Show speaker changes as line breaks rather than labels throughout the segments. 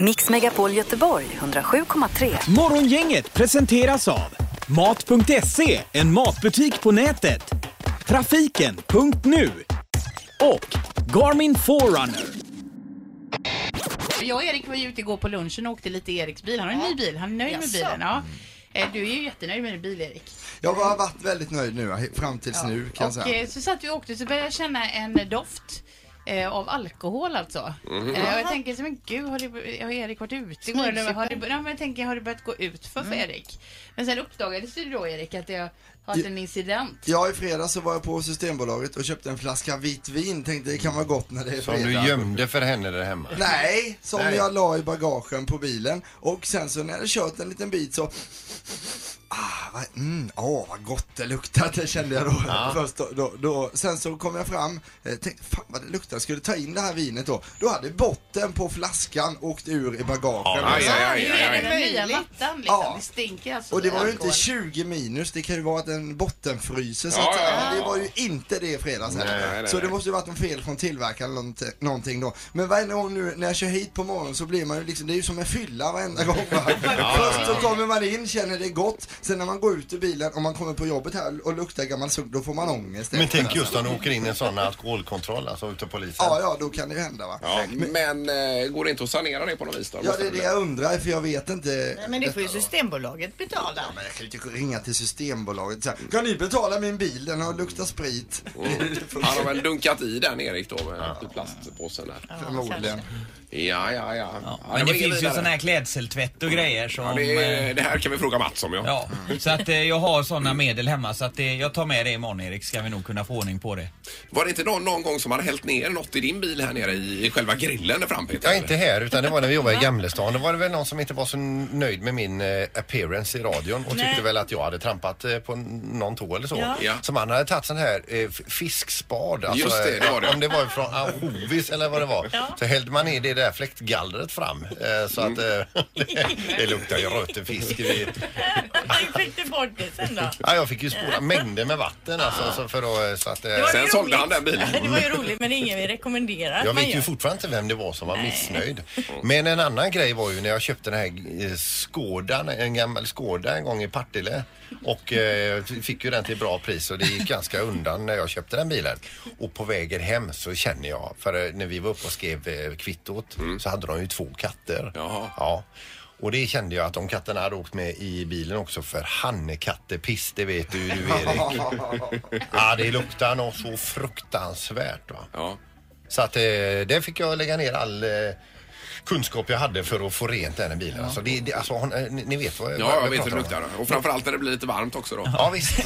Mix Megapol Göteborg 107,3.
Morgongänget presenteras av Mat.se, en matbutik på nätet. Trafiken.nu och Garmin Forerunner.
Jag och Erik var ju ute igår på lunchen och åkte lite i Eriks bil. Han har en ny bil. Han är nöjd med bilen.
Mm.
Ja. Eh, Du är ju jättenöjd med din bil Erik.
Jag har varit väldigt nöjd nu, fram tills nu kan jag
Och
säga.
eh, så satt vi och åkte så började jag känna en doft. eh, Av alkohol alltså.
Mm.
Eh, och jag tänker så men gud har, det, har Erik varit ute igår? Eller har det, ja, men jag tänker har det börjat gå ut för,
Mm.
för Erik? Men sen uppdagades det då Erik att jag har haft en incident.
Ja, i fredags så var jag på Systembolaget och köpte en flaska vitt vin. Tänkte det kan vara gott när det är
Som
fredag.
du gömde för henne där hemma.
Nej, som
Nej.
jag la i bagagen på bilen. Och sen så när jag hade kört en liten bit så... Ah, vad, mm, åh, vad gott det luktar, det kände jag då. Först då, då, då. Sen så kom jag fram, eh, tänkte fan vad det luktar, skulle ta in det här vinet då. Då hade botten på flaskan åkt ur i bagagen.
aj, aj,
Hur är det
aj,
med nya mattan liksom?
Ja.
Det stinker alltså.
Och det var ju inte
alkohol.
20 minus, det kan ju vara att den bottenfryser så
Ja,
att,
ja, ja.
men Det var ju inte det i fredags heller.
Nej, nej,
Så det
nej.
måste ju varit något fel från tillverkaren eller nånt- någonting då. Men varje gång nu när jag kör hit på morgonen så blir man ju liksom, det är ju som en fylla varenda gång va? Först så kommer man in, känner det är gott. Sen när man går ut ur bilen och man kommer på jobbet här och luktar gammal sugg, då får man ångest.
Men tänk just när du åker in i en sån alkoholkontroll, alltså ute på polisen.
Ja, ja, då kan det hända va.
Ja, men eh, går det inte att sanera det på något vis då?
Ja, det är det jag undrar för jag vet inte.
Men det
detta,
får ju
va.
Systembolaget betala.
Men jag kan ju inte ringa till Systembolaget och säga, kan ni betala min bil? Den har luktat sprit.
Han har väl dunkat i den Erik då med, i plastpåsen där.
Förmodligen.
Ja, ja, ja. ja
Men det
var
finns ju
vidare.
sån här klädseltvätt och grejer som...
Ja, det, är,
eh,
det här kan vi fråga Mats om ja.
Ja, så att eh, jag har såna medel hemma så att eh, jag tar med det imorgon Erik ska vi nog kunna få ordning på det.
Var det inte någon, någon gång som hade hällt ner något i din bil här nere i, i själva grillen där fram Peter?
Ja, inte här utan det var när vi jobbade i Gamlestan. Då var det väl någon som inte var så nöjd med min eh, appearance i radion och tyckte väl att jag hade trampat eh, på n- någon tå eller så.
Ja.
Som han hade tagit sån här eh, f- fiskspad. alltså, eh,
Just det, det var det.
Om det var från Ahovis eller vad det var. Så hällde man ner det där fläktgallret fram. Eh, så att
Mm.
eh, det, det luktar ju röten fisk. i-
Hur fick du bort det sen då?
Ja, jag fick ju spola mängder med vatten alltså. Så för att, eh, så att, eh,
Det var ju
Sen
roligt.
sålde han den bilen.
Det var ju roligt men det är ingen vi rekommenderar att
Jag
man
vet
gör.
ju fortfarande inte vem det var som var missnöjd. Men en annan grej var ju när jag köpte den här eh, Skådan, en gammal Skåda en gång i Partille. Och eh, fick ju den till bra pris och det gick ganska undan när jag köpte den bilen. Och på vägen hem så känner jag, för eh, när vi var uppe och skrev eh, kvittot så hade de ju två katter.
Jaha.
Ja. Och det kände jag att de katterna hade åkt med i bilen också för hannekattepiss, det vet du ju du Erik. Ja, det luktar nog så fruktansvärt va.
Ja.
Så att eh, där fick jag lägga ner all eh, kunskap jag hade för att få rent den här bilen. Alltså, det, det, alltså, hon, eh, ni, ni vet vad vad
Ja, jag vet
pratar
hur det
om.
luktar. Och framförallt när det blir lite varmt också då.
Ja, visst.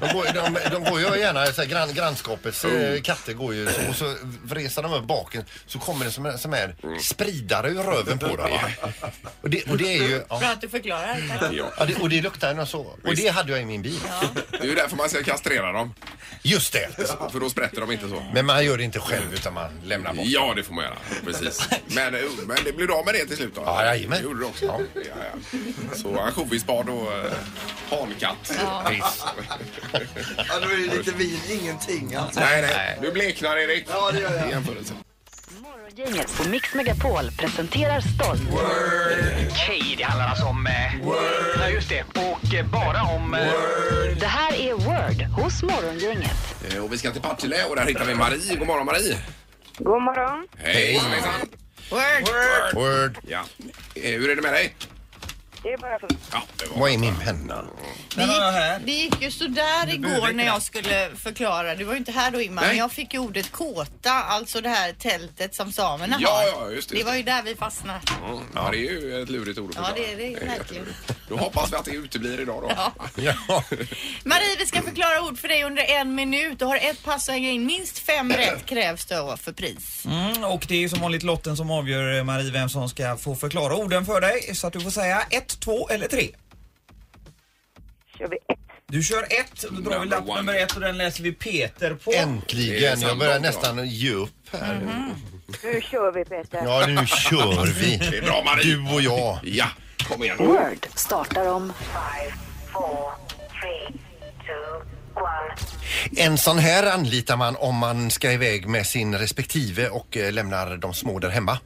De, går, de, de går ju gärna, så här, grann, grannskapets
Mm.
eh, katter går ju så, och så vresar de upp baken så kommer det som en som är spridare ur röven på dem. va? Och det, och det är ju...
Bra
Ja.
att du förklarar. Tack.
Ja.
Ja, det, och det luktar ju så. Och det hade jag i min bil.
Det är ju därför man ska kastrera dem.
Just det!
För då sprätter de inte så.
Men man gör det inte själv utan man lämnar bort
Ja, det får man göra. Precis. Men, eh, men det blev av med det till slut då?
Ja, jajamän.
Det gjorde du också.
Ja.
Ja, ja. Så ansjovisbad och eh, hankatt.
Piss.
Ja, då är det lite vin, ingenting alltså.
Nej, nej. Du bleknar Erik.
Ja, det gör jag.
I jämförelse.
Morgongänget på Mix Megapol presenterar stolt.
Okej, det handlar alltså om... Eh, ja, just det. Och eh, bara om... Eh,
Det här är Word hos Morgongänget.
Eh, Och vi ska till Partille och där hittar vi Marie. God morgon Marie.
God morgon.
Hej. Hejsan.
Word.
Ja. Eh, Hur är det med dig?
Det är bara fint.
Ja, det var...
Vad är min penna?
Det
Den har jag här.
gick, det gick ju sådär igår när jag skulle förklara. Du var ju inte här då Ingmar, men
Nej.
jag fick ju ordet kåta, alltså det här tältet som samerna
Ja,
har.
ja, just det,
Det
just
var ju där vi fastnade.
Mm,
Ja, ja, det är ju ett lurigt ord att
Ja,
förklara. Eh,
det är det verkligen.
Då hoppas vi att det uteblir idag då.
Ja.
Ja.
Marie, vi ska förklara ord för dig under en minut. Du har ett pass att hänga in. Minst fem rätt krävs då för pris.
Mm, och det är ju som vanligt lotten som avgör eh, Marie vem som ska få förklara orden för dig så att du får säga ett, två eller tre.
Kör vi ett.
Du kör ett, då drar vi
Number
lapp
one.
nummer ett och den läser vi Peter på.
Det är
Äntligen!
sant,
Jag börjar
bra.
nästan ge upp här.
Mm-hmm. Nu kör vi Peter.
Ja, nu kör vi.
Det är bra Marie.
Du och jag.
Ja, kom igen.
Word startar om
En sån här anlitar man om man ska iväg med sin respektive och eh, lämnar de små där hemma.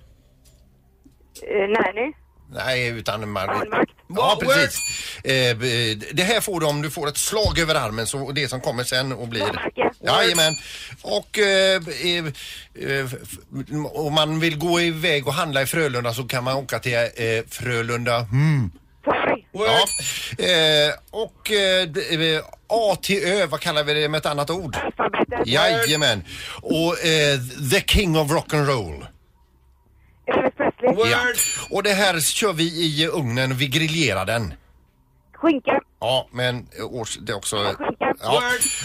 Eh, nanny.
Nej, utan man...
Allmakt.
Ja, precis. Eh, b- det här får du om du får ett slag över armen, så det som kommer sen och blir...
Varmacka.
Jajamän. Och, eh, eh, eh, f- om man vill gå iväg och handla i Frölunda så kan man åka till eh, Frölunda... Mm.
Torg.
Ja. Eh, och eh, d- eh, A till Ö, vad kallar vi det med ett annat ord?
Alfabetet.
Jajamän. Och eh, The King of Rock'n'Roll.
Elvis Presley.
Ja. Och det här kör vi i ugnen, vi grillerar den.
Skinka.
Ja, men eh, års, det är också...
Skinka.
Ja.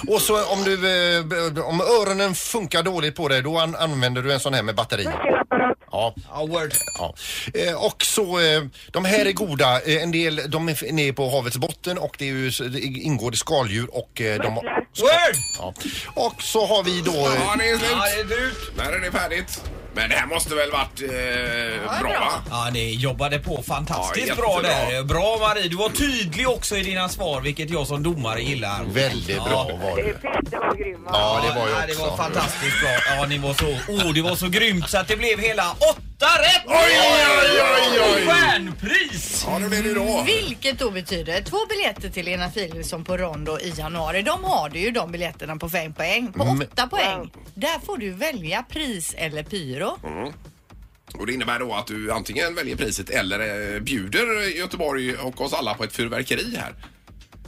Och så om du, eh, b- om öronen funkar dåligt på dig, då an, använder du en sån här med batteri.
Spelapparat.
Ja.
Ja, word.
ja. Eh, Och så, eh, de här är goda. Eh, En del, de är f- nere på havets botten och det, är ju, s- det ingår i skaldjur och eh, de... har-
Word!
Ja. Och så har vi då... eh,
Ja, det är
Ja, det
slut.
är dyrt.
Där är det färdigt. Men det här måste väl varit eh, bra, va?
Ja, ni jobbade på fantastiskt
Ja,
bra
jättebra.
där. Bra Marie, du var tydlig också i dina svar, vilket jag som domare gillar.
Väldigt bra var det.
Peter var grym va?
Ja, det var ju
ja,
också.
det var fantastiskt bra. Ja, ni var så, oh, det var så grymt så att det blev hela åtta rätt!
Oj, oj, oj, oj.
Stjärnpris!
Ja, det blir det då.
Vilket då betyder två biljetter till Lena Philipsson på Rondo i januari. De har du ju de biljetterna på fem poäng. På
Mm.
åtta poäng. Där får du välja pris eller pyro.
Och det innebär då att du antingen väljer priset eller eh, bjuder Göteborg och oss alla på ett fyrverkeri här.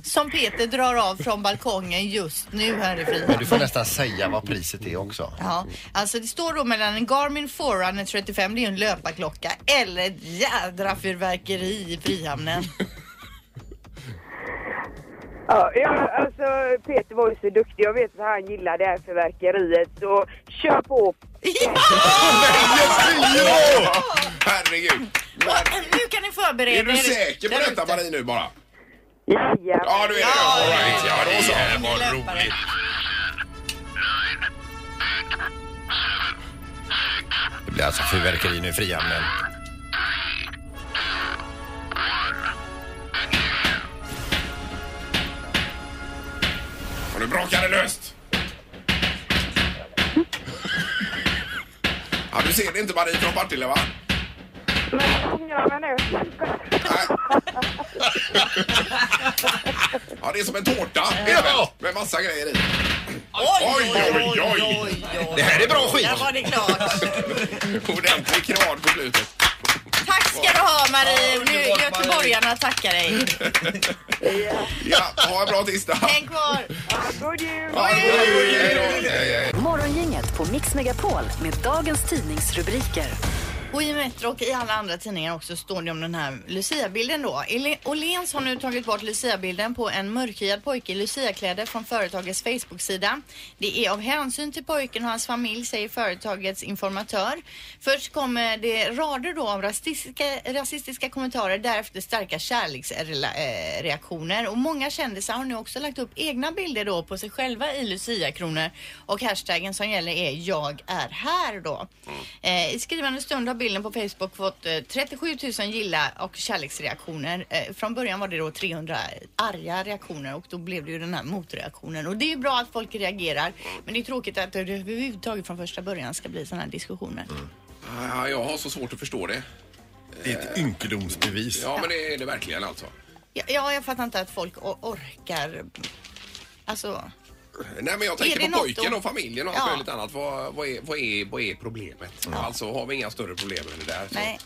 Som Peter drar av från balkongen just nu här i
Men
Frihamn.
du får nästan säga vad priset är också.
Ja, alltså det står då mellan en Garmin Forerunner 35, det är ju en löparklocka, eller ett jädra fyrverkeri i Frihamnen.
Ja, ja, alltså Peter var ju så duktig. Jag vet att han gillar det här förverkeriet. Så kör på.
Ja! Herregud.
Och nu kan ni
Är
förbereda
du säker på
där
detta
ute.
Marie nu bara?
Jajamän.
Ja, du är det.
Ja,
All right. Ja, då så.
ja, ja.
Vad roligt.
Det blir alltså fyrverkeri nu i Frihamnen.
Och nu brakar det löst. Ja, du ser det inte Marie från Partille va?
Men gör man nu?
Nej. Ja, det är som en tårta
Ja.
med massa grejer i.
Oj, oj, oj, oj,
oj.
oj.
Det här är bra skit!
Där var det klart.
Ordentlig kran på slutet.
Tack ska du ha Marie.
Ja,
Nu
underbart,
göteborgarna tackar dig.
Ja, ha en bra tisdag.
Häng kvar.
God jul!
Ja, hej då. Hej, hej.
Morgongänget på Mix Megapol med dagens tidningsrubriker.
Och i Metro och i alla andra tidningar också står det om den här Lucia-bilden då. Ele- Åhléns har nu tagit bort Lucia-bilden på en mörkhyad pojke i Lucia-kläder från företagets Facebook-sida. Det är av hänsyn till pojken och hans familj, säger företagets informatör. Först kommer det rader då av rasistiska, rasistiska kommentarer, därefter starka kärleksreaktioner. Och många kändisar har nu också lagt upp egna bilder då på sig själva i Lucia-kronor. Och hashtaggen som gäller är jag är här då. Eh, I skrivande stund har bilden på Facebook fått eh, 37 000 gilla och kärleksreaktioner. Eh, från början var det då 300 arga reaktioner och då blev det ju den här motreaktionen. Och det är bra att folk reagerar men det är tråkigt att det överhuvudtaget från första början ska bli sådana här diskussioner.
Mm. Ja, jag har så svårt att förstå det.
Det är ett ynkedomsbevis.
Ja, men det är det verkligen alltså.
Ja, ja, jag fattar inte att folk o- orkar. Alltså,
Nej, men jag tänker
det
på
något
pojken
att-
och familjen och allt
Ja.
möjligt annat. Vad, vad, är, vad, är, vad är problemet? Alltså, har vi inga större problem än det där? så-
nej.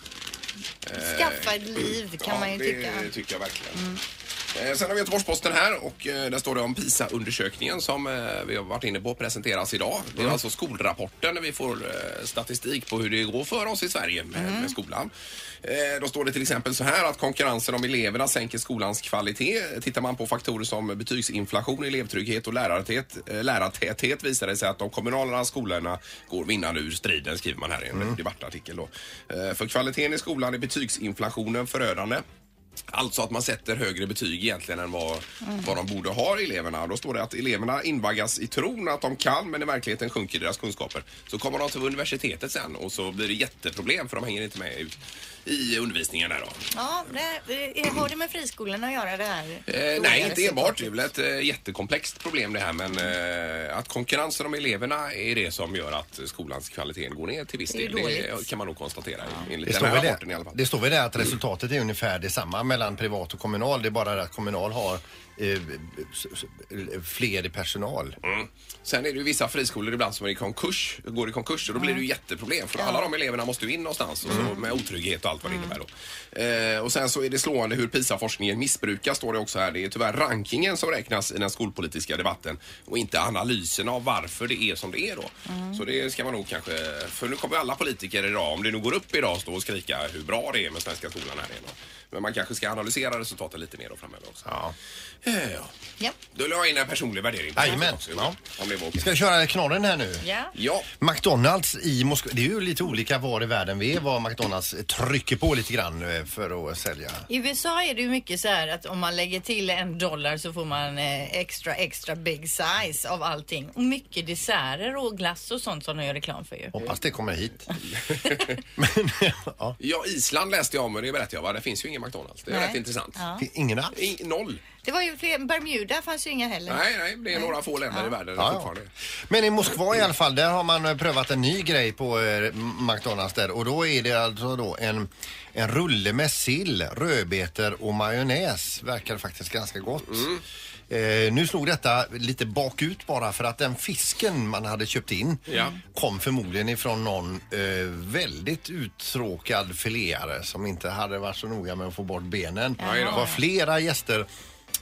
Skaffa ett liv kan
Eh, ja,
man ju
det
tycka.
tycker jag verkligen. Eh, Sen har vi Göteborgs-Posten här och eh, där står det om PISA-undersökningen som eh, vi har varit inne på presenteras idag. Det är alltså skolrapporten där vi får eh, statistik på hur det går för oss i Sverige med, med skolan. Eh, Då står det till exempel så här att konkurrensen om eleverna sänker skolans kvalitet. Tittar man på faktorer som betygsinflation, elevtrygghet och lärartät, eh, lärartäthet visar det sig att de kommunala skolorna går vinnande ur striden skriver man här i en debattartikel. Då. Eh, För kvaliteten i skolan är betygsinflationen förödande. Alltså att man sätter högre betyg egentligen än vad, vad de borde ha eleverna. Då står det att eleverna invaggas i tron att de kan men i verkligheten sjunker deras kunskaper. Så kommer de till universitetet sen och så blir det jätteproblem för de hänger inte med ut i undervisningen där då.
Ja, det här, eh, har det med friskolorna att göra det här?
Eh, nej,
Dåliga
inte
resultat?
enbart. Det är väl ett eh, jättekomplext problem det här men eh, att konkurrensen om eleverna är det som gör att skolans kvalitet går ner till viss
Det är
del. Det
dåligt.
kan man nog konstatera
Det
enligt
står,
den
väl
här
det,
rapporten i alla fall.
det står väl det att resultatet är ungefär detsamma mellan privat och kommunal. Det är bara det att kommunal har eh, s- s- fler i personal.
Mm. Sen är det ju vissa friskolor ibland som är i konkurs, går i konkurs och då blir det ju jätteproblem för alla de eleverna måste ju in någonstans och så, med otrygghet och allt vad det innebär då. Eh, och sen så är det slående hur PISA-forskningen missbrukas står det också här. Det är tyvärr rankingen som räknas i den skolpolitiska debatten och inte analysen av varför det är som det är då. Så det ska man nog kanske, för nu kommer ju alla politiker idag, om det nu går upp idag, stå och skrika hur bra det är med svenska skolan här igen. då. Men man kanske ska analysera resultaten lite mer då framöver också.
Ja.
Eh, ja.
Ja.
Då la jag in en personlig värdering. på
Jajamän.
det också, Om det var okej.
Ska jag köra knarren här nu?
Ja.
Ja,
McDonalds i Moskva, det är ju lite olika var i världen vi är vad McDonalds trycker på lite grann eh, för att sälja.
I USA är det ju mycket så här att om man lägger till en dollar så får man eh, extra, extra big size av allting. Och mycket desserter och glass och sånt som de gör reklam för ju.
Hoppas det kommer hit. Men ja,
ja, Island läste jag om och det berättade jag va? Det finns ju ingen McDonalds. Det är
Nej.
rätt intressant.
Ja.
det är ingen alls.
I, noll.
Det var ju fler, Bermuda fanns ju inga heller.
Nej, nej, det är några få länder i världen
Ja, ja.
fortfarande.
Men i Moskva i alla fall, där har man eh, prövat en ny grej på eh, McDonalds där och då är det alltså då en, en rulle med sill, rödbetor och majonnäs. Verkar faktiskt ganska gott.
Mm.
Eh, nu slog detta lite bakut bara för att den fisken man hade köpt in
Ja.
kom förmodligen ifrån någon eh, väldigt uttråkad filéare som inte hade varit så noga med att få bort benen.
Aj då.
Det var flera gäster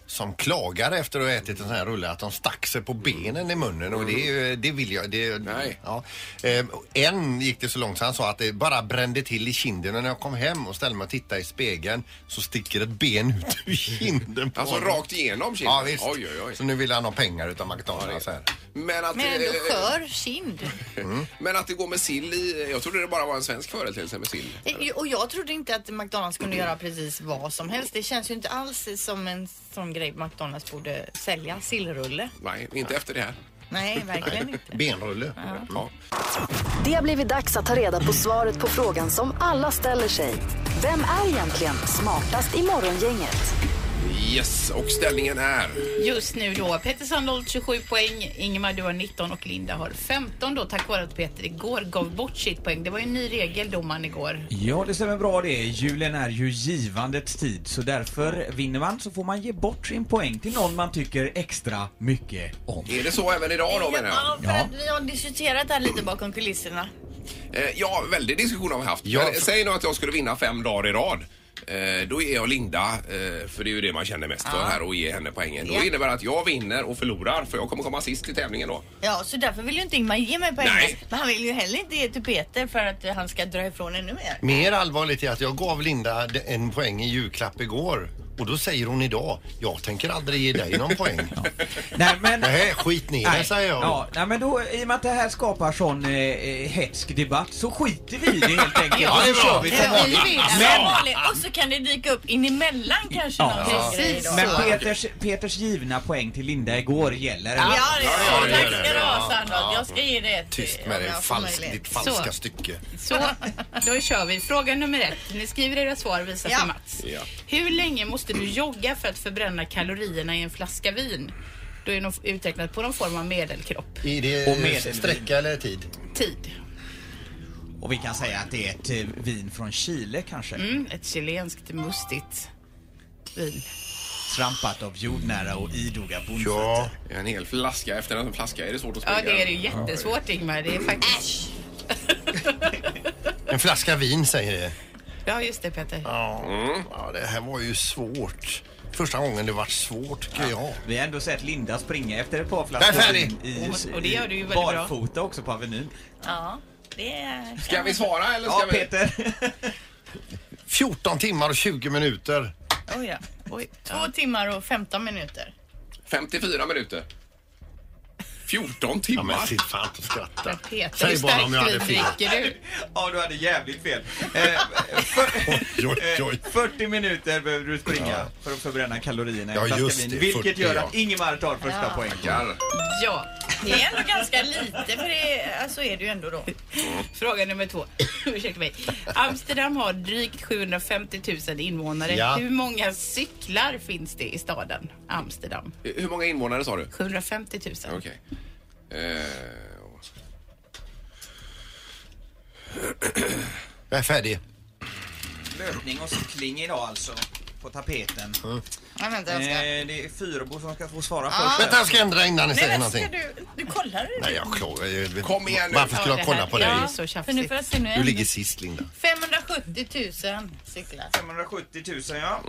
som klagar efter att ha ätit en sån här rulle att de stack sig på benen i munnen och det, är ju- det vill jag. Det,
Nej.
Ja. Eh, och En gick det så långt så han sa att det bara brände till i kinden och när jag kom hem och ställde mig och tittade i spegeln så sticker ett ben ut ur kinden på
Alltså
honom.
rakt igenom kinden?
Ja visst.
Oj, oj,
Så
oj.
nu vill han ha pengar utav McDonalds här.
Men att,
Men ändå
eh,
skör kind.
Mm.
men att det går med sill i... Jag trodde det bara var en svensk företeelse med sill.
Eh, Och jag trodde inte att McDonalds kunde göra precis vad som helst. Det känns ju inte alls som en sån grej McDonalds borde sälja. Sillrulle.
Nej, inte efter det här.
Nej, verkligen inte.
Benrulle. Mm.
Ja.
Det har blivit dags att ta reda på svaret på frågan som alla ställer sig. Vem är egentligen smartast i morgongänget?
Yes, och ställningen är...
Just nu då, Peter Sandholt 27 poäng, Ingemar du har 19 och Linda har 15 då tack vare att Peter igår gav bort sitt poäng. Det var ju en ny regel domaren igår.
Ja, det stämmer bra det. Julen är ju givandets tid, så därför vinner man så får man ge bort sin poäng till någon man tycker extra mycket om.
Är det så även idag då menar jag?
Ja, för att vi har diskuterat det här lite bakom kulisserna.
Eh, Ja, väldig diskussion har vi haft.
Ja,
Men, eh,
för-
Säg nu att jag skulle vinna fem dagar i rad. Eh, Då ger jag Linda, eh, för det är ju det man känner mest för här, och ger henne poängen. Då
Ja.
innebär det att jag vinner och förlorar, för jag kommer komma sist i tävlingen då.
Ja, så därför vill ju inte Ingmar ge mig poäng.
Nej.
Men han vill ju heller inte ge till Peter för att eh, han ska dra ifrån ännu mer.
Mer allvarligt är att jag gav Linda en poäng i julklapp igår och då säger hon idag, jag tänker aldrig ge dig någon poäng.
Nej, men...
Nej, skit ner det säger jag.
Ja, nej, men då, i och med att det här skapar sån eh, eh, hetsk debatt så skiter vi i det helt enkelt.
Ja, det är
Då
bra.
kör vi
Det
som
är
vanligt. Men,
Och så kan det dyka upp in emellan kanske
Ja.
någon
Ja.
grej då.
men Peters, Peters givna poäng till Linda igår gäller. eller?
Ja, det
Ja,
är
det
så. Tack
gör det.
ska du
Ja.
ha Sandholt. Jag ska ge dig ett.
Tyst
om
med dig,
jag får
falsk,
möjlighet.
ditt falska
Så.
stycke.
Så, då kör vi. Fråga nummer ett. Ni skriver era svar och visar
Ja.
för Mats.
Ja.
Hur länge måste du jogga för att förbränna kalorierna i en flaska vin? Då är de uträknat på någon form av medelkropp.
Är
Och
det
medelvind.
sträcka eller tid?
Tid.
Och vi kan säga att det är ett eh, vin från Chile kanske.
Mm, ett chilenskt mustigt vin.
Trampat av jordnära och idoga bondfötter.
En hel flaska efter en flaska är det svårt att springa.
Ja, det är ju jättesvårt Ingmar. Det är faktiskt...
En flaska vin säger det.
Ja, just det Peter.
Ja. ja, det här var ju svårt. Första gången det var svårt tycker jag.
Vi har ändå sett Linda springa efter ett par
Där är
flaskor
Fanny!
vin i,
Och- och det gör du ju
i
väldigt bra.
barfota också på Avenyn.
Ja, det är...
Ska vi svara eller ska
Ja,
vi...
Peter.
14 timmar och 20 minuter.
Oj, ja. Oj. Två timmar och 15 minuter.
54 minuter. 14
Ja, men
timmar.
sitt fan inte och skratta.
Peter,
Säg
hur
bara
starkt
om jag hade
sprit
fel.
dricker du?
Ja, du hade jävligt fel. Eh, för,
Oj, oj, oj.
eh, 40 minuter behöver du springa för att förbränna kalorierna i
Ja,
en flaska
just
vin.
det,
vilket
40,
gör
ja.
att Ingemar tar första poängen.
Tackar.
Ja, det är ändå ganska lite för det, alltså är det ju ändå då. Fråga nummer två. Ursäkta mig. Amsterdam har drygt 750 000 invånare.
Ja.
Hur många cyklar finns det i staden Amsterdam?
Hur många invånare sa du?
750 000.
Okej. Eh,
Jag är färdig.
Löpning och cykling idag alltså, på tapeten.
Ja, vänta, jag ska...
Eh, det är Fyrebo som ska få svara
Vänta,
först.
jag ska ändra innan ni
Nej,
säger
men ska
någonting.
du... Du kollar det.
Nej, jag klarar jag-
Kom igen nu.
Varför skulle jag
det
kolla
här
på
är
dig?
ju så tjafsigt.
nu får jag se nu.
Du
igen.
ligger sist, Linda.
570 000 cyklar.
570 000 ja.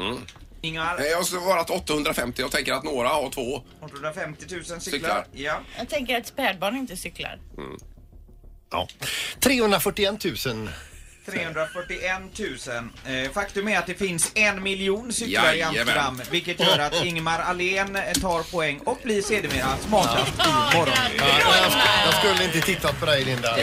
Ingemar,
Nej, jag har svarat 850. Jag tänker att några har två.
850 000 cyklar.
Cyklar.
Ja.
Jag tänker att spädbarn inte cyklar.
Ja. 341 000.
341 000. Eh, faktum är att det finns en miljon cyklar i
Jajamän.
Amsterdam, vilket gör att Ingmar Ahlén eh, tar poäng och blir sedermera smartast i morgon.
Ja, jag, sk- jag skulle inte tittat på dig, Linda.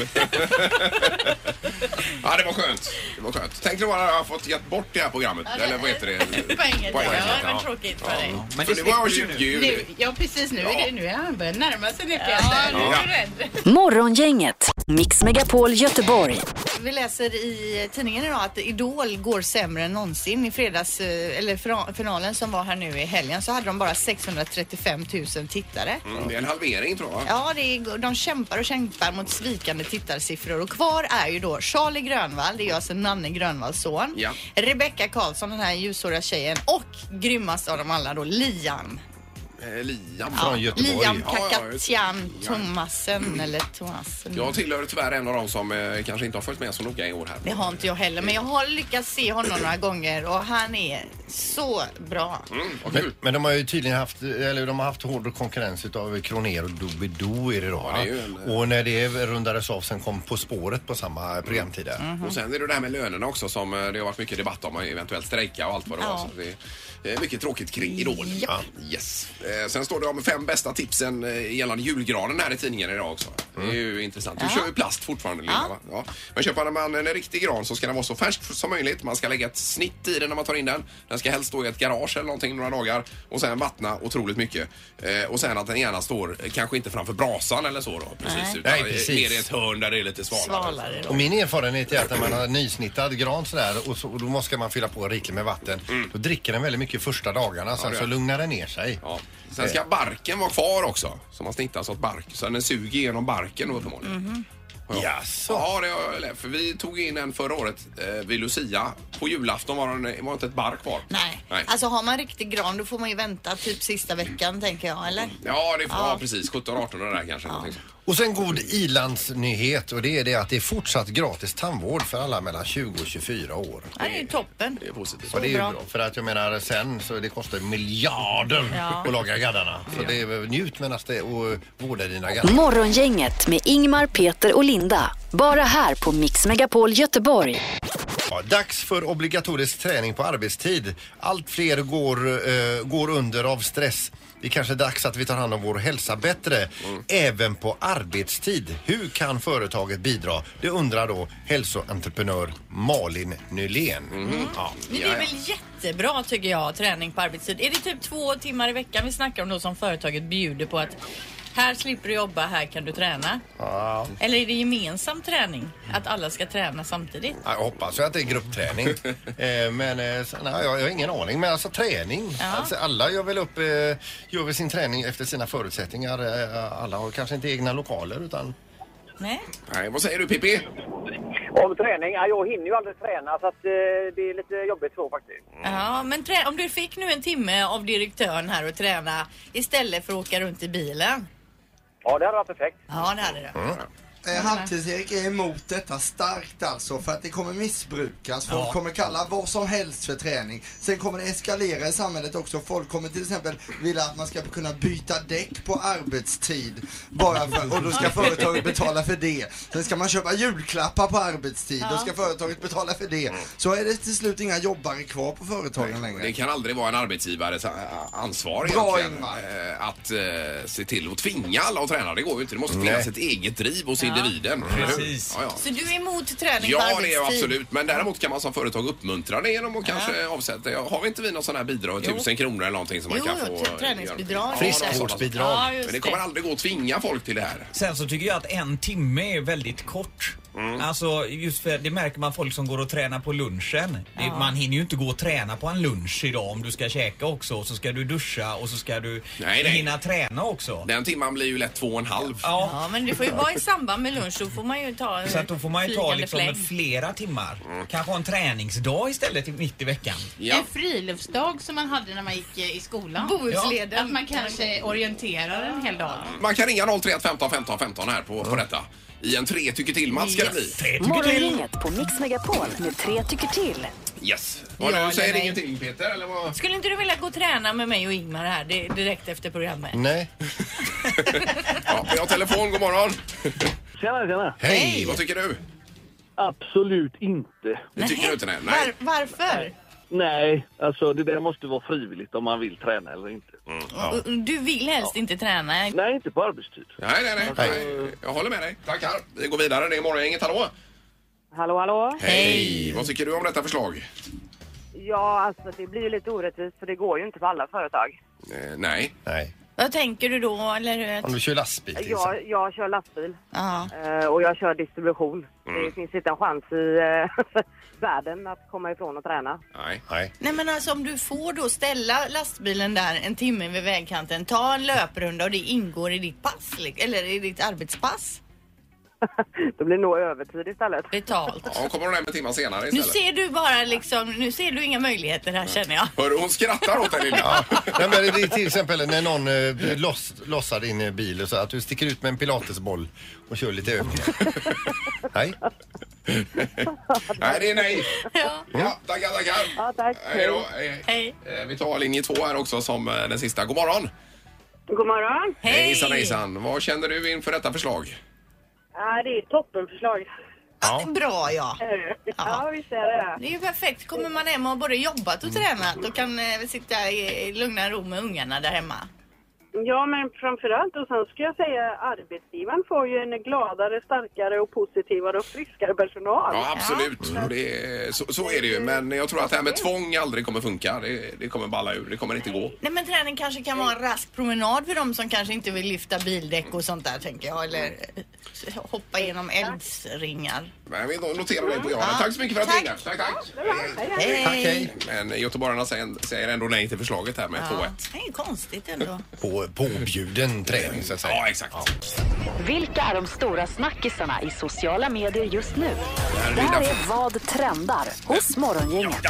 Ja, det var skönt. Det var skönt. Tänk om jag hade fått gett bort det här programmet. Eller vad heter det?
Poängen.
Poängen,
Ja, det
ja.
var tråkigt för dig.
Men
För
det
det var
slipper du
20
nu.
juli.
Nu, ja, precis. Nu är,
Ja.
det, nu är han börjar närma sig det Peter. Nu är du rädd.
Morgongänget, Mix Megapol Göteborg.
Vi läser i tidningen idag att Idol går sämre än någonsin. I fredags, eh, eller fra- finalen som var här nu i helgen, så hade de bara 635 000 tittare.
Mm, det är en halvering tror jag.
Ja, det är, de kämpar och kämpar mot svikande tittarsiffror och kvar är ju då Charlie Grönvall, det är ju alltså Nanne Grönvalls son.
Ja.
Rebecca Karlsson, den här ljushåriga tjejen och grymmast av dem alla då Liam.
Eh, Liam.
Från Göteborg.
Liam
Ja, ja, just det.
Kakatian
Ja.
Thomassen eller Thomassen.
Jag tillhör tyvärr en av dem som eh, kanske inte har följt med så noga i år här.
Det har inte jag heller, men jag har lyckats se honom några gånger och han är så bra.
Mm, vad
Men,
kul.
men de har ju tydligen haft, eller de har haft hård konkurrens utav Kroner och Doobidoo är det då.
det är
va?
ju en- eh,
Och när det rundades av sen kom På spåret på samma eh, programtid där.
Och sen är det det här med lönerna också som eh, det har varit mycket debatt om. Eventuellt strejka och allt vad det var.
Ja.
Så det är mycket tråkigt kring Idol.
Ja.
Yes. Eh, Sen står det om fem bästa tipsen eh, gällande julgranen här i tidningen idag också. Det är ju intressant. Du kör ju plast fortfarande Linda,
Ja.
va? Ja. Men köper man en riktig gran så ska den vara så färsk som möjligt. Man ska lägga ett snitt i den när man tar in den. Den ska helst stå i ett garage eller någonting några dagar och sen vattna otroligt mycket. Eh, Och sen att den gärna står, eh, kanske inte framför brasan eller så då. Precis, utan
Nej, precis.
ner i ett hörn där det är lite svalare.
Svalare
Och
då.
min erfarenhet är att när man har nysnittad gran sådär och, så, och då måste man fylla på rikligt med vatten. Då dricker den väldigt mycket första dagarna, sen
Mm. det
så
är.
lugnar den ner sig.
Ja. Sen ska barken vara kvar också. Så man snittar så att bark, så den suger igenom barken då uppenbarligen.
Jaså?
Ja, det har jag lärt. För vi tog in en förra året eh, vid Lucia. På julafton var den- var inte ett bark kvar.
Nej. alltså har man riktig gran då får man ju vänta typ sista veckan tänker jag, eller?
Ja, det får, ja. precis. 17-18 där kanske. någonting sånt.
Och sen god ilandsnyhet och det är det att det är fortsatt gratis tandvård för alla mellan 20 och 24 år.
Ja, det är ju toppen.
Det är positivt.
Och det är ju
bra.
bra. för att jag menar sen så det kostar miljarder
Ja.
att laga gaddarna. Så det är, njut medan det och vårda dina gaddar.
Morgongänget med Ingmar, Peter och Linda. Bara här på Mix Megapol Göteborg.
Ja, dags för obligatorisk träning på arbetstid. Allt fler går, eh, går under av stress. Det är kanske är dags att vi tar hand om vår hälsa bättre, även på arbetstid. Hur kan företaget bidra? Det undrar då hälsoentreprenör Malin Nylén. Ja.
Men det är väl jättebra tycker jag, träning på arbetstid. Är det typ två timmar i veckan vi snackar om då som företaget bjuder på att här slipper du jobba, här kan du träna? Eller är det gemensam träning? Att alla ska träna samtidigt?
Ja, Jag hoppas ju att det är gruppträning. eh, men eh, så, nej, jag, jag har ingen aning. Men alltså träning. Alltså, alla gör väl upp, eh, gör väl sin träning efter sina förutsättningar. Eh, alla har kanske inte egna lokaler utan
Nej?
Nej, vad säger du Pippi?
Om träning? Ja, jag hinner ju aldrig träna så att, eh, det är lite jobbigt så faktiskt.
Ja, men trä- om du fick nu en timme av direktören här och träna istället för att åka runt i bilen.
Ja, det hade varit perfekt.
Mm.
Ja, det hade du.
Eh, Halvtids-Erik är emot detta starkt alltså för att det kommer missbrukas. Folk
Ja.
kommer kalla vad som helst för träning. Sen kommer det eskalera i samhället också. Folk kommer till exempel vilja att man ska kunna byta däck på arbetstid. Bara för, och då ska företaget betala för det. Sen ska man köpa julklappar på arbetstid. Då ska
Ja.
företaget betala för det. Så är det till slut inga jobbare kvar på företagen längre.
Det kan aldrig vara en arbetsgivares eh, ansvar
Bra,
egentligen, eh, att eh, se till att tvinga alla att träna. Det går ju inte. Det måste
Nej.
finnas ett eget driv hos
Ja.
individen.
Precis.
Ja, ja.
Så du är emot träning på
Ja, det
arbetstid?
är jag absolut. Men däremot kan man som företag uppmuntra det genom att kanske avsätta. ja, Har vi inte vi något sån här bidrag,
Jo.
tusen kronor eller någonting som
Jo,
man kan
jo,
få? eh,
ett träningsbidrag.
Ja,
Friskvårdsbidrag.
något
Ja,
sånt.
just
Men det kommer
det.
aldrig gå att tvinga folk till det här.
Sen så tycker jag att en timme är väldigt kort. Alltså just för det märker man folk som går och tränar på lunchen. Det,
Ja.
man hinner ju inte gå och träna på en lunch idag om du ska käka också och så ska du duscha och så ska du
Nej, nej.
hinna träna också.
Den timman blir ju lätt två och en halv.
Ja,
Men det får ju vara i samband med lunch, då får man ju ta eh,
Så att då får man ju ta
flygande
liksom
fläng.
flera timmar. Kanske ha en träningsdag istället i- mitt i veckan.
En friluftsdag som man hade när man gick eh, i skolan.
Bohusleden.
Ja. Att man kanske orienterar en hel dag.
Man kan ringa 031 15 15 15 här på, på detta. I en tre tycker till-match ska det bli.
Morgongänget på Mix Megapol med tre tycker till.
Yes. Vad
Ja,
du säger
eller nej.
ingenting Peter, eller vad?
Skulle inte du vilja gå och träna med mig och Ingmar här di- direkt efter programmet?
Nej.
ja, vi har telefon. God morgon.
Tjena, tjena.
Hej! Vad tycker du?
Absolut inte.
Det tycker du inte? Nej. nej.
Var, varför?
Nej, alltså det där måste vara frivilligt om man vill träna eller inte.
Och- och Du vill helst inte träna?
Nej, inte på arbetstid.
Nej, nej, nej, nej. Jag håller med dig. Tackar. Vi går vidare. Det är Morgongänget. Hallå!
Hallå, hallå?
Hej! Vad tycker du om detta förslag?
Ja, alltså det blir ju lite orättvist för det går ju inte på alla företag.
Eh, nej.
Nej.
Vad tänker du då? Eller hur?
Om du kör lastbil till exempel.
Jag, jag kör lastbil
Ja.
eh, och jag kör distribution. Det
Mm.
finns inte en chans i eh, världen att komma ifrån att träna.
Nej.
Nej.
Nej men alltså om du får då ställa lastbilen där en timme vid vägkanten, ta en löprunda och det ingår i ditt pass, li- eller i ditt arbetspass.
Det blir nog övertid istället.
Betalt.
Ja, kommer hon hem en timme senare
Nu
istället?
ser du bara liksom, nu ser du inga möjligheter här känner jag.
Hör du, hon skrattar åt dig lilla.
Nej, men det är till exempel när någon eh, loss, lossar din eh, bil och så att du sticker ut med en pilatesboll och kör lite övningar. Nej.
Nej, det är nej.
Ja.
Ja, tackar, tackar.
Ja, tack.
Hej då. Hej.
Hej.
Eh, Vi tar linje två här också som eh, den sista. God morgon!
God morgon!
Hejsan, hejsan. Vad känner du inför detta förslag?
Ja, det är ett toppenförslag.
Ja.
Bra ja.
Ja, visst är det
Det är ju perfekt. Kommer man hem och har både jobbat och tränat och kan eh, sitta i i lugna ro med ungarna där hemma.
Ja, men framförallt och sen ska jag säga arbetsgivaren får ju en gladare, starkare och positivare och friskare personal.
Ja, absolut. Och Det är, så, så är det ju. Men jag tror att det här med tvång aldrig kommer funka. Det, det kommer balla ur. Det kommer inte gå.
Nej men träning kanske kan vara en rask promenad för de som kanske inte vill lyfta bildäck och sånt där tänker jag. Eller eh, hoppa genom eldsringar.
Men vi noterar det på ja. Tack så mycket för att du ringde. Tack, tack.
Hej.
Tack, hej. Men göteborgarna säger, säger ändå nej till förslaget här med
Ja. Det är ju konstigt ändå.
2-1. På, påbjuden träning så att säga. Ja,
exakt.
Vilka är de stora snackisarna i sociala medier just nu? Det här är Vad trendar hos Morgongänget.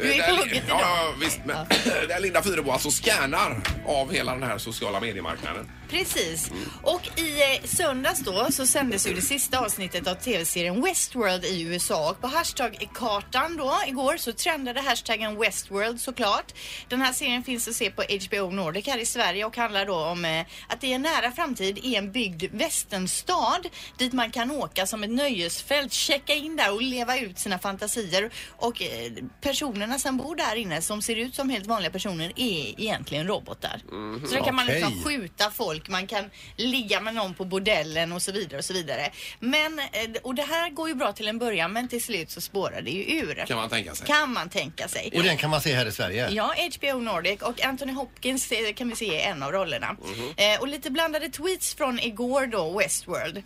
Du är på hugget idag. Ja, ja, visst. Men där Linda Fyrebo alltså scannar av hela den här sociala mediemarknaden.
Precis. Och i eh, söndags då så sändes ju det sista avsnittet av tv-serien Westworld i USA och på hashtag-kartan då igår så trendade hashtaggen Westworld såklart. Den här serien finns att se på HBO Nordic här i Sverige och handlar då om eh, att i en nära framtid är en byggd västernstad dit man kan åka som ett nöjesfält, checka in där och leva ut sina fantasier och eh, personerna som bor där inne som ser ut som helt vanliga personer är egentligen robotar.
Mhm.
Så där kan man liksom
Okej.
skjuta skjuta folk, man kan ligga med någon på bordellen och så vidare och så vidare. Men, eh, och det här går ju bra till en början men till slut så spårar det ju ur.
Kan man tänka sig.
Kan man tänka sig.
Och den kan man se här i Sverige.
Ja, HBO Nordic och Anthony Hopkins eh, kan vi se i en av rollerna.
Mhm.
Eh, och lite blandade tweets från igår då, Westworld.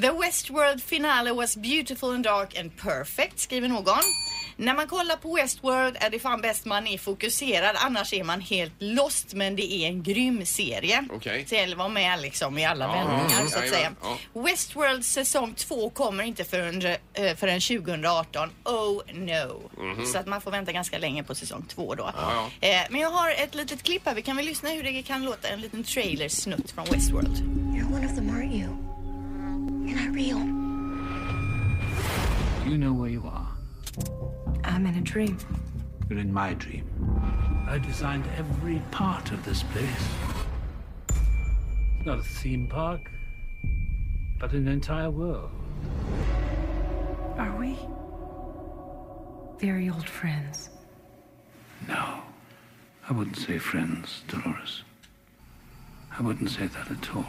The Westworld finale was beautiful and dark and perfect, skriver någon. När man kollar på Westworld är det fan bäst man är fokuserad, annars är man helt lost. Men det är en grym serie.
Okej.
Så det gäller att vara med liksom i alla
Ja,
vändningar
mm,
så att säga.
jajamän, ja.
Westworld säsong 2 kommer inte förrän, eh, förrän 2018. Oh no.
Mhm.
Så att man får vänta ganska länge på säsong 2 då.
Ja,
Eh, men jag har ett litet klipp här. Vi kan väl lyssna hur det kan låta. En liten trailersnutt från Westworld.
You're one of them, aren't you?
real.
You know where you are.
I'm in a dream.
You're in my dream. I designed every part of this place. It's not a theme park, but an entire world.
Are we very old friends?
No, I wouldn't say friends, Dolores. I wouldn't say that at all.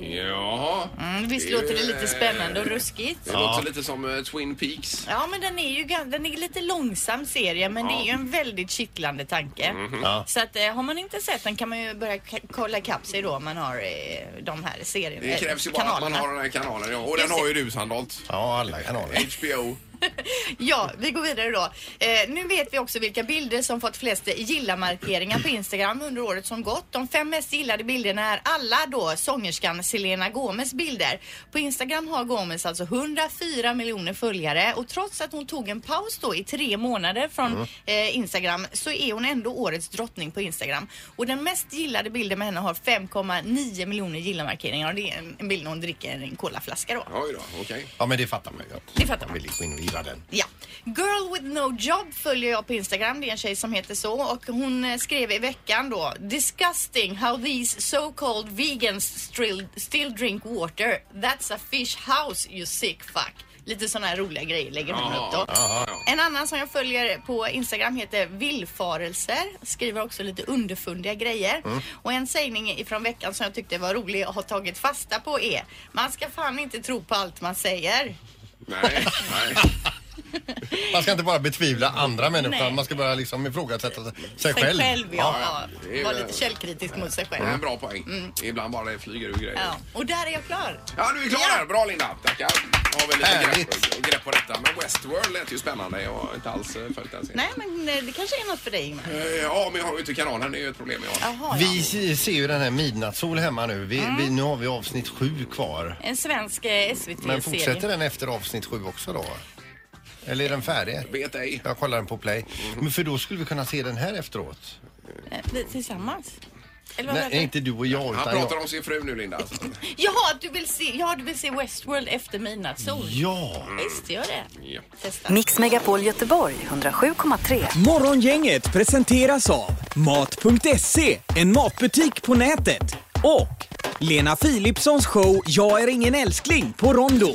Ja.
Mm, visst låter det lite spännande och ruskigt?
Det låter lite som eh, Twin Peaks.
Ja, men den är ju gan- den är lite långsam serie, men
Ja.
det är ju en väldigt kittlande tanke.
Mhm. Ja.
Så att, eh, har man inte sett den kan man ju börja k- kolla ikapp sig då om man har eh, de här serierna.
Det krävs ju bara att man har den här kanalen. Ja. Och den har ju du Sandholt.
Ja, alla kanaler.
HBO.
Ja, vi går vidare då. Eh, nu vet vi också vilka bilder som fått flest gilla-markeringar på Instagram under året som gått. De fem mest gillade bilderna är alla då sångerskan Selena Gomez bilder. På Instagram har Gomez alltså 104 miljoner följare och trots att hon tog en paus då i tre månader från
Mm.
eh, Instagram så är hon ändå årets drottning på Instagram. Och den mest gillade bilden med henne har 5,9 miljoner gilla-markeringar och det är en- en bild när hon dricker en colaflaska då.
Oj då, okej.
Ja, men det fattar man ju.
Det fattar man.
vill ju gå in och gilla den.
Ja. Girl with no job följer jag på Instagram. Det är en tjej som heter så och hon eh, skrev i veckan då Disgusting how these so called vegans still, still drink water. That's a fish house you sick fuck. Lite sådana här roliga grejer lägger hon upp då. En annan som jag följer på Instagram heter Villfarelser. Skriver också lite underfundiga grejer.
Mm.
Och en sägning ifrån veckan som jag tyckte var rolig och har tagit fasta på är Man ska fan inte tro på allt man säger.
Nej, nej.
Man ska inte bara betvivla andra människor,
Nej.
utan man ska börja liksom ifrågasätta sig sig själv.
Sig själv ja.
Det
ja.
är
Var
väl-
lite källkritisk mot sig
Det är en
själv.
bra poäng.
Mm.
Ibland bara det flyger ur grejer.
Ja. Och där är jag klar.
Ja, du är klar där. Bra Linda. Tackar. Har väl lite grepp, grepp på detta. Men Westworld lät ju spännande. Jag har inte alls eh, följt den serien.
Nej, men eh, det kanske är något för dig Ingmar.
Eh, Ja, men jag har ju inte kanalen. Det är ju ett problem jag har.
Jaha, ja.
Vi se- ser ju den här midnattssol hemma nu. Vi, vi, nu har vi avsnitt sju kvar.
En svensk eh, SVT-serie.
Men fortsätter den efter avsnitt sju också då? Eller är den färdig?
Vet ej.
Jag kollar den på play. Men för då skulle vi kunna se den här efteråt.
Eh, Vi tillsammans? Eller vad menar
Nej,
du?
inte du och jag
Han
utan
pratar
jag.
om sin fru nu, Linda. alltså.
Jaha, du vill se, ja, du vill se Westworld efter midnattssol?
Ja!
Visst gör det. Testa.
Mix Megapol Göteborg 107,3.
Morgongänget presenteras av Mat.se, en matbutik på nätet. Och Lena Philipssons show Jag är ingen älskling på Rondo.